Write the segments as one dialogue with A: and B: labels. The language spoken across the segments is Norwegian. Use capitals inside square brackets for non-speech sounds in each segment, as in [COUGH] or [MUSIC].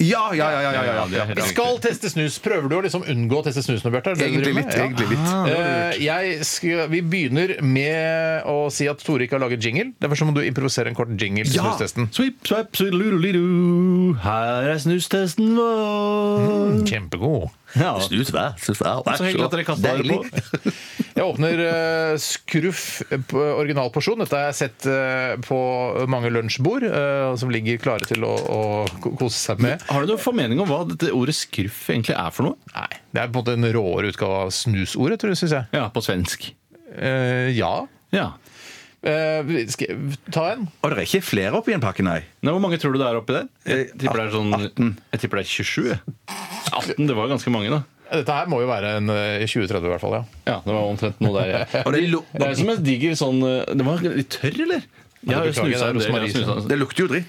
A: Ja, ja, ja. ja, ja, ja,
B: Ja, ja,
A: ja.
B: det
A: ja.
B: er-
C: Vi skal teste snus. Prøver du å liksom unngå å teste snus nå, Bjarte? Er det det du
A: Egentlig
C: driver
A: litt.
C: med?
A: egentlig litt
C: Eh, jeg skal, vi begynner med å si at Tore ikke har laget jingle. Derfor så må du improvisere en kort jingle til snustesten.
B: Sweep, sweep, sweep, Her er snustesten vår.
C: Kjempegod.
B: Ja.
A: Mm. Snus hver, snus hver.
B: Så hyggelig at dere kasta dere
A: Deilig.
B: på.
C: Jeg åpner eh, skruff på originalporsjon. Dette har jeg sett eh, på mange lunsjbord eh, som ligger klare til å, å ko- kose seg med.
B: Har du noen formening om hva dette ordet skruff egentlig er for noe?
C: Nei, Det er på en måte en råere utgave av snusordet, tror jeg, syns jeg.
B: Ja, på svensk.
C: Eh, ja.
B: Ja.
C: Eh, vi- skal jeg ta en?
A: Og det er ikke flere oppi en pakke, nei.
B: Nei, hvor mange tror du det er oppi der? Jeg tipper det er sånn Jeg tipper det er 27. jeg. 18, det var jo ganske mange, da.
C: Dette her må jo være en eh, 2030 i hvert fall, ja.
B: Ja, det var omtrent noe der. jeg-
A: Og det lu-
B: Det er som en diger sånn eh, Det var litt tørr, eller? Jeg har jo
C: beklager, det er
B: snusa en del.
C: rosmarin.
B: jeg har snusa-
A: Det lukter jo dritt.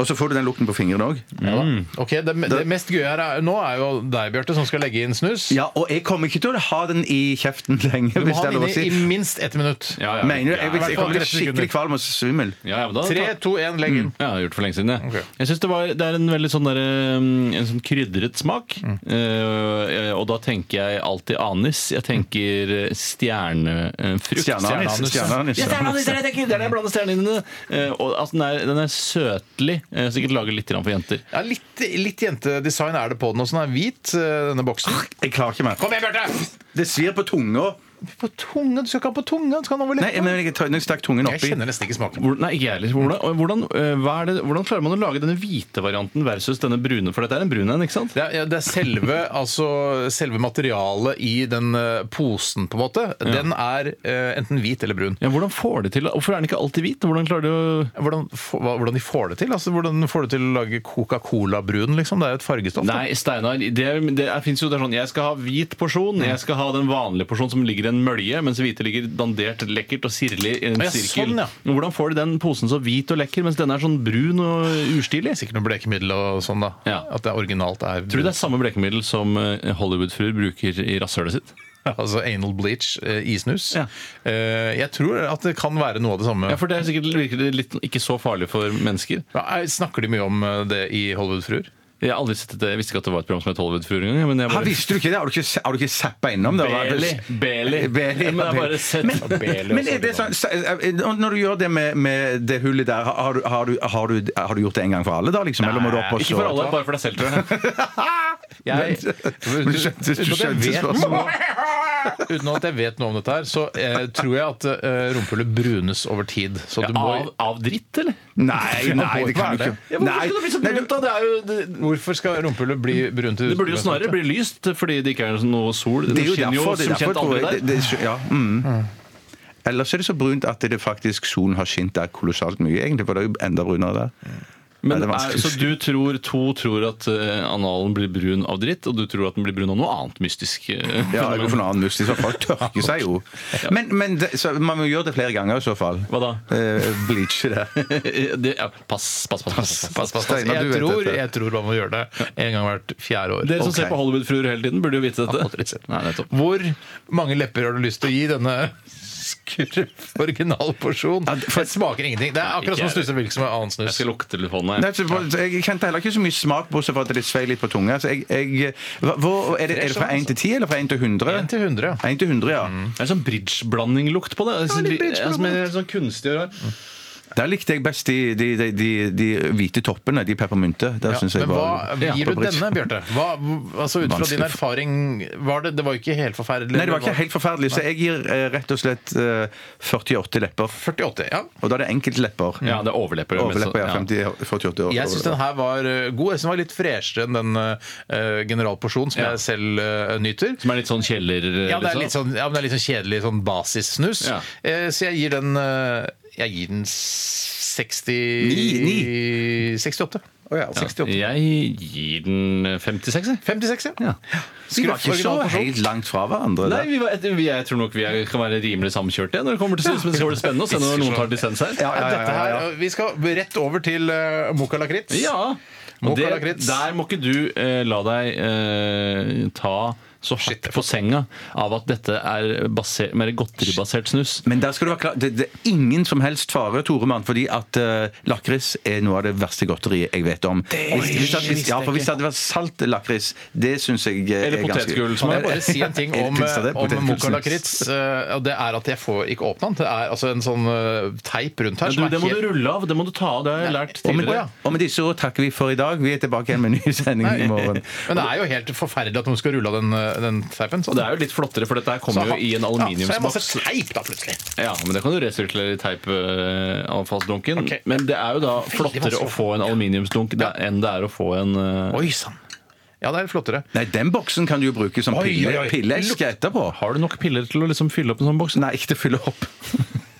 A: Og så får du den lukten på fingrene òg. Mm.
C: Ok, det, det mest gøye her er, nå er jo deg, Bjarte, som skal legge inn snus.
A: Ja, og jeg kommer ikke til å ha den i kjeften lenge.
C: Du må
A: hvis
C: ha
A: det er lov å
C: den inne
A: si.
C: i minst ett minutt.
B: Ja, ja.
A: Mener du? Jeg,
B: Ja,
A: vil- jeg kommer til å bli
C: 30 sekunder.
A: skikkelig kvalm og svimmel.
B: ja, ja, men da,
C: Tre, to, én, legg inn.
A: Mm.
B: Ja, jeg har gjort det for lenge siden. Jeg,
C: Ok.
B: jeg synes det, var, det er en veldig sånn der, um, en sånn krydret smak. Eh, og da tenker jeg alltid anis. Jeg tenker eh, stjernefrukt.
A: Stjerneanis. Stjerneanis.
B: Ja, stjerneanis er det jeg tenker! Det er det jeg blander stjernene inn i. Eh, og at den, er, den er søtlig. Eh, sikkert laget litt grann for jenter.
C: Ja, litt, litt jentedesign er det på den også. Den er hvit, eh, denne boksen.
A: Jeg klarer ikke mer.
C: Kom igjen, Bjarte!
A: Det svir på tunga.
C: På tunga, Du skal ikke ha på tunga! Du skal ha den over
A: Nei, jeg
C: leppa.
A: mener, jeg tar- når jeg stakk tungen
C: Jeg
A: oppi
C: kjenner nesten ikke smaken.
B: Hvor- Nei, ikke jeg heller. Hvordan, og hvordan, eh, hva er det- hvordan klarer man å lage denne hvite varianten versus denne brune? For dette er en brun en, ikke sant?
C: Det er, ja, det er selve, altså, selve materialet i den eh, posen, på en måte. Den er eh, enten hvit eller brun.
B: Ja, hvordan får de til Hvorfor er den ikke alltid hvit? Hvordan klarer de å
C: Hvordan, få- hva- hvordan de får det til? Altså, hvordan får du til å lage Coca-Cola-brun? Liksom? Det er jo et fargestoff. da.
B: Nei, Steinar, det, det er- finnes jo det er sånn Jeg skal ha hvit porsjon, jeg skal ha den vanlige porsjonen som ligger i en mølje, mens hvite ligger dandert, lekkert og sirlig i en
C: Ja,
B: sirkel.
C: sånn, ja.
B: Hvordan får de den posen så hvit og lekker, mens denne er sånn brun og ustilig?
C: Sikkert noe blekemiddel og sånn, da.
B: Ja.
C: At det er originalt er
B: Tror du det er samme blekemiddel som eh, Hollywood-fruer bruker i rasshølet sitt?
C: [LAUGHS] Altså anal bleach eh, i snus.
B: Ja.
C: Eh, jeg tror at det kan være noe av det samme.
B: Ja, for det er sikkert virker det litt, ikke så farlig for mennesker.
C: Ja, er- snakker de mye om eh, det i Hollywood-fruer?
B: Jeg har aldri sett det, jeg visste ikke at det var et program som het Hollywood-fruer engang. men jeg
A: Ha,
B: bare-
A: Visste du ikke det? Har du ikke, har du ikke zappa innom det?
B: Beli. Beli.
A: Beli,
B: Ja, men jeg har
A: Beli.
B: bare sett
A: Men-
B: Beli
A: Men er det sånn, så- eh, når du gjør det med, med det hullet der, har du, har, du, har, du, har du gjort det en gang for alle, da? Liksom? Eller må du opp og
B: Ikke for alle, bare for deg selv, tror jeg. [LAUGHS]
C: [LAUGHS] Jeg,
A: Men skjønte- du skjønte spørsmålet?
C: Uten at jeg vet noe om dette, her så eh, tror jeg at eh, rumpehullet brunes over tid. Så du må,
B: Av, av dritt, eller?
A: Nei, nei, det kan du ikke.
B: Ja,
A: Nei,
B: hvorfor skal det bli så
A: nei,
B: brunt, da? Det er jo det,
C: hvorfor skal rumpehullet bli brunt?
B: Det burde jo snarere bli lyst, fordi det ikke er noe sol. Det,
A: Det er jo
B: skinner jo
A: derfor, det er
B: som
A: derfor
B: kjent
A: tror
B: aldri
A: jeg
B: der.
A: det, det, ja, mm. Ellers er det så brunt at det faktisk solen har skint der kolossalt mye, egentlig, for det er jo enda brunere der.
B: Men
A: Nei, det er
B: er,
A: vanskelig.
B: så du tror, to tror at eh, analen blir brun av dritt, og du tror at den blir brun av noe annet mystisk? eh,
A: Ja, jeg
B: fenomen.
A: går for noe annet must. I så fall tørker seg jo. Men, men det, så man må gjøre det flere ganger i så fall.
B: Hva da? [LAUGHS]
A: Eh, bleache det.
B: det, ja, pass, pass, pass. pass, pass, pass.
A: Steinar, du
C: Jeg
A: vet
C: tror,
A: dette.
C: jeg tror man må gjøre det en gang hvert fjerde år.
B: Dere som
A: Ok.
B: ser på Hollywood-fruer hele tiden, burde jo
C: [LAUGHS]
B: vite
C: Aldri
B: dette.
C: sett.
B: Nei, nettopp.
C: Hvor mange lepper har du lyst til å gi denne skurv originalporsjon?
A: Ja, for-
C: For det smaker ingenting. Det er akkurat som å snuse hvilken som er annen
B: Jeg
C: snus.
B: skal lukte telefonen.
A: Nei,
B: Jeg.
A: så, jeg kjente heller ikke så mye smak, bortsett fra at det svei litt på tunga. Så jeg, jeg, hva, hvor, er, det, er det fra 1 til 10, eller fra 1 til 100?
C: 1 til 100, ja.
A: 1 til 100, ja.
B: Det er sånn bridgeblanding-lukt på det. Det er
C: litt
B: litt-
C: bridgeblanding.
B: altså, men det er sånn kunstig og rar.
A: Mhm. Der likte jeg best de, de, de, de, de hvite toppene, de peppermynte. Der
C: Ja,
A: synes jeg
C: men
A: var
C: hva gir
A: på
C: du
A: bridge.
C: denne, Bjarte? Hva- Altså, ut fra
A: Vanskelig.
C: din erfaring var det, det var jo ikke helt forferdelig?
A: Nei, det var ikke helt forferdelig, så jeg gir eh, rett og slett eh, 48 lepper.
C: 48, ja.
A: Og da er det enkeltlepper.
B: Ja, det overlepper. jo mest.
A: Overlepper, ja.
B: Ja.
A: 50, 48 år.
C: Jeg syns den her var eh, god. Jeg synes den var litt freshere enn den eh, generalporsjonen som
B: Ja.
C: jeg selv eh, nyter.
B: Som er litt sånn kjeller...
C: Ja, det er litt sånn, ja, men det er litt sånn kjedelig sånn basissnus.
B: Ja.
C: Eh, så jeg gir den eh, Jeg gir den 60 68.
A: Å ja, 68.
B: Jeg gir den 56, jeg.
C: 56, ja.
A: Vi var ikke så
C: originalperson.
A: helt langt fra hverandre.
B: Nei,
A: der.
B: vi var, vi, jeg tror nok vi er, kan være rimelig samkjørte ja, når det kommer til snus, men det skal bli spennende å se når noen tar dissens her.
A: Ja, ja, ja,
C: Dette
A: ja,
C: her,
A: ja.
C: eh, vi skal rett over til uh, Moka lakrits.
B: Ja, og
C: Moka
B: det,
C: lakrits.
B: Der må ikke du eh, la deg eh, ta så hardt på senga av at dette er baser, mer godteribasert snus.
A: Men der skal du være klar. Det, det er ingen som helst fare, Tore Mann, fordi at eh, lakris er noe av det verste godteriet jeg vet om. Hvis, hvis, at- hvis, ja, for hvis det hadde vært salt lakris, det syns jeg eh,
B: Eller
A: er ganske
B: potetgull, som
C: Kan
B: [LAUGHS] er
C: jeg bare si en ting
A: Eller
C: om, eh,
A: kunst av det,
C: om
A: potetgull,
C: Moka
A: snus.
C: lakritz? eh, Og det er at jeg får ikke åpna den. Det er altså en sånn eh, teip rundt her
B: Du,
C: som
B: det
C: er
B: må du
C: helt
B: rulle av. Det må du ta av. Det har jeg lært
C: Å, men-
B: tidligere.
C: å, ja.
A: Og med disse ord takker vi for i dag. Vi er tilbake igjen med en ny sending i morgen.
C: Men det er jo helt forferdelig at noen skal rulle av den, eh, den teipen.
B: Og det er jo litt flottere, for dette her kommer jo i en aluminiumsboks.
C: Så er det masse teip da, plutselig.
B: Ja, men det kan du resirkulere i teipavfallsdunken.
C: Ok.
B: Men det er jo da flottere
C: vanskelig
B: å få en aluminiumsdunk det- enn det er å få en eh,
C: Oi sann. Ja, det er flottere.
A: Nei, den boksen kan du jo bruke som
C: Oi,
A: pille,
C: oi, oi.
A: pilleeske etterpå.
B: Har du nok piller til å liksom fylle opp en sånn boks?
A: Nei, ikke til å fylle opp.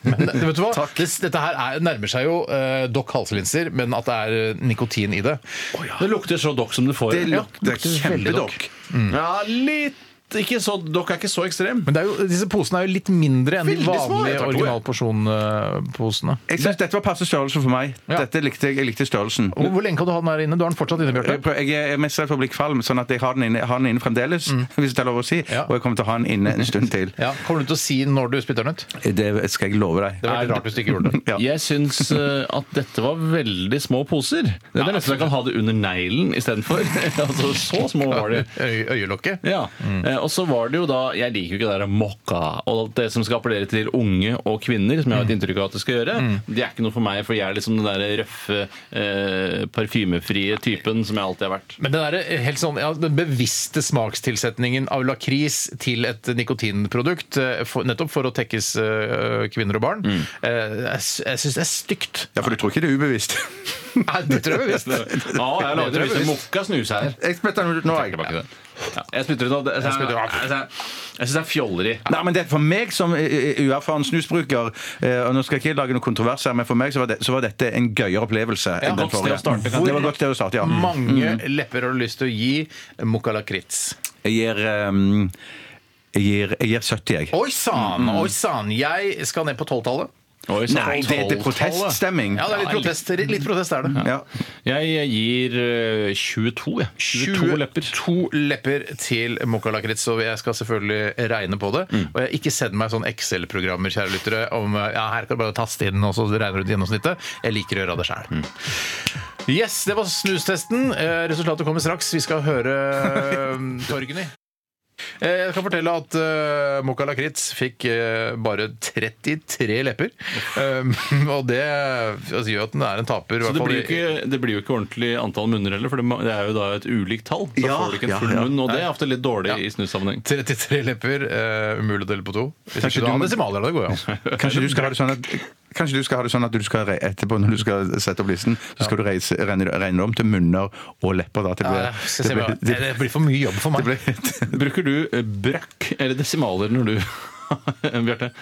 C: Men det- vet du hva? Det, dette her er, nærmer seg jo eh, dokk halslinser, men at det er eh, nikotin i det.
B: Det lukter så dokk som du får.
A: Det
B: Ja,
A: lukter
C: veldig
A: kjempedokk.
B: ja litt ikke så, Dokk er ikke så ekstrem.
C: Men det er jo, disse posene er jo litt mindre enn de
B: Veldig små, jeg
C: vanlige eh,
B: tar to, jeg.
C: originalporsjonposene.
A: Jeg synes Dette var passe størrelse for meg.
C: Ja.
A: Dette likte jeg, jeg likte størrelsen.
C: Hvor, hvor lenge kan du ha den her inne? Du har den fortsatt inne, Bjarte.
A: Jeg, prøver, jeg er mest redd for å bli kvalm, sånn at jeg har den inne, jeg har den inne fremdeles. [LAUGHS] Hvis det er lov å si.
C: Ja.
A: Og jeg kommer til å ha den inne en stund til.
C: Ja, Kommer du til å si når du spytter den ut? Det
A: Det skal jeg love deg.
C: var litt rart hvis du ikke gjorde [LAUGHS] det.
A: Ja.
B: Jeg syns eh, at dette var veldig små poser. Det er nesten jeg kan ha det under neglen istedenfor. [LAUGHS] altså, så små var de.
C: Øy, øyelokket.
B: Ja. Eh, og så var det jo da Jeg liker jo ikke det der mokka og alt det som skal appellere til unge og kvinner, som jeg har et inntrykk av at det skal gjøre. Det er ikke noe for meg, for jeg er liksom den der røffe, eh, parfymefrie typen som jeg alltid har vært.
C: Men den, der, helt sånn, ja, den bevisste smakstilsetningen av lakris til et nikotinprodukt, eh, for, nettopp for å tekkes eh, kvinner og barn, eh, jeg, sy- jeg syns det er stygt.
A: Ja, for du tror ikke det er ubevisst?
C: Nei, det tror jeg bevisst.
B: Ja, jeg
C: Det tror
B: lagde
C: jeg
B: visst en
C: bevisst.
B: mokka snus her.
A: [LAUGHS] Jeg spytter den ut nå, jeg.
B: Ja. Jeg spytter ut av det. Jeg
C: Jeg spytter ut av-
B: syns det er fjolleri.
A: Nei, men det, For meg som eh, eh, uerfaren snusbruker eh, og Nå skal jeg ikke lage noen kontrovers her, men for meg så var, det, så var dette en gøyere opplevelse enn den
B: godt sted
A: forrige.
B: å starte, kan
A: det var godt sted å starte, ja.
C: Mm. Mange lepper har du lyst til å gi mokka lakritz.
A: Jeg gir, ehm, jeg gir, jeg gir 70, jeg.
C: Oi sann, oi sann. Jeg skal ned på tolvtallet.
B: Oi, så
A: Nei, det heter proteststemming.
C: Ja, det er litt protest, litt protest er det.
A: Ja.
B: Jeg gir eh, 22, jeg. 22 lepper.
C: To lepper til mokka lakritz, og jeg skal selvfølgelig regne på det.
B: Mm.
C: Og jeg ikke send meg sånn Excel-programmer, kjære lyttere, om eh, ja, her kan du bare taste inn, og så regner du ut gjennomsnittet. Jeg liker å gjøre det sjæl.
B: Mm.
C: Yes, det var snustesten. Eh, Resultatet kommer straks. Vi skal høre eh, Torgny. Eh, Jeg kan fortelle at uh, Mokka Lakritz fikk eh, bare 33 lepper. Eh, [LAUGHS] og det altså, gjør at den er en taper. i
B: Så
C: hvert
B: det
C: fall
B: blir, jo
C: i-
B: ikke, det blir jo ikke ordentlig antall munner heller, for det må- det er jo da et ulikt tall. Da
A: Ja,
B: får du ikke en
A: ja,
B: full
A: ja.
B: munn, og det er ofte litt
C: Ja.
B: dårlig i snussammenheng.
C: 33 lepper. eh, umulig å dele på to. Hvis
A: Kanskje
C: ikke du
A: du
C: har
A: må-
C: desimaler, det går jo. altså.
A: Kanskje du skal ha det sånn at Kanskje du skal ha det sånn at du skal re etterpå når du skal sette opp listen, så skal du reise, regne, regne det om til munner og lepper. Da, til det,
C: Ja, skal se
A: det,
C: hva-
A: blir-
C: det blir for mye jobb for meg.
A: det, blir-
B: Bruker du eh, brakk eller desimaler når du [LAUGHS] Bjarte?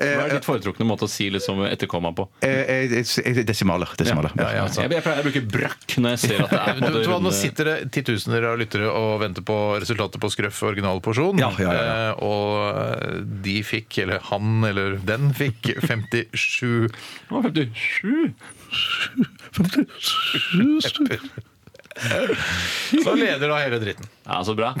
B: Hva er ditt foretrukne måte å si liksom etterkomma på?
A: [LAUGHS] Eh, eh, eh, Desimaler. Desimaler. Ja,
C: ja, altså.
B: Jeg, jeg pleier å bruke brakk når jeg ser at det
C: [LAUGHS]
B: er
C: Du,
B: på en
C: vet
B: måte
C: du hva, nå
B: runde-
C: sitter det titusener av lyttere og venter på resultatet på Skrøff original porsjon.
A: Ja, ja, ja, ja.
C: Eh, og de fikk, eller han eller den fikk, [LAUGHS] 57
B: Å, 57.
C: Så leder da hele dritten.
B: Ja, så bra.